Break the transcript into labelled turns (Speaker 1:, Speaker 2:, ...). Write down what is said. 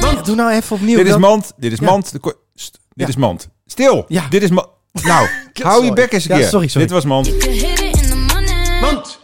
Speaker 1: mand.
Speaker 2: Doe nou even opnieuw.
Speaker 1: Dit is
Speaker 2: Dat-
Speaker 1: mand. Dit is
Speaker 2: Ja.
Speaker 1: mand. De ko- st-
Speaker 2: Ja.
Speaker 1: Dit is mand. Stil.
Speaker 2: Ja.
Speaker 1: Dit is mand. Nou, hou je
Speaker 2: Sorry.
Speaker 1: bek eens een
Speaker 2: Ja,
Speaker 1: keer.
Speaker 2: sorry, sorry.
Speaker 1: Dit was mand.
Speaker 3: You can hit it in the morning.
Speaker 4: Mand.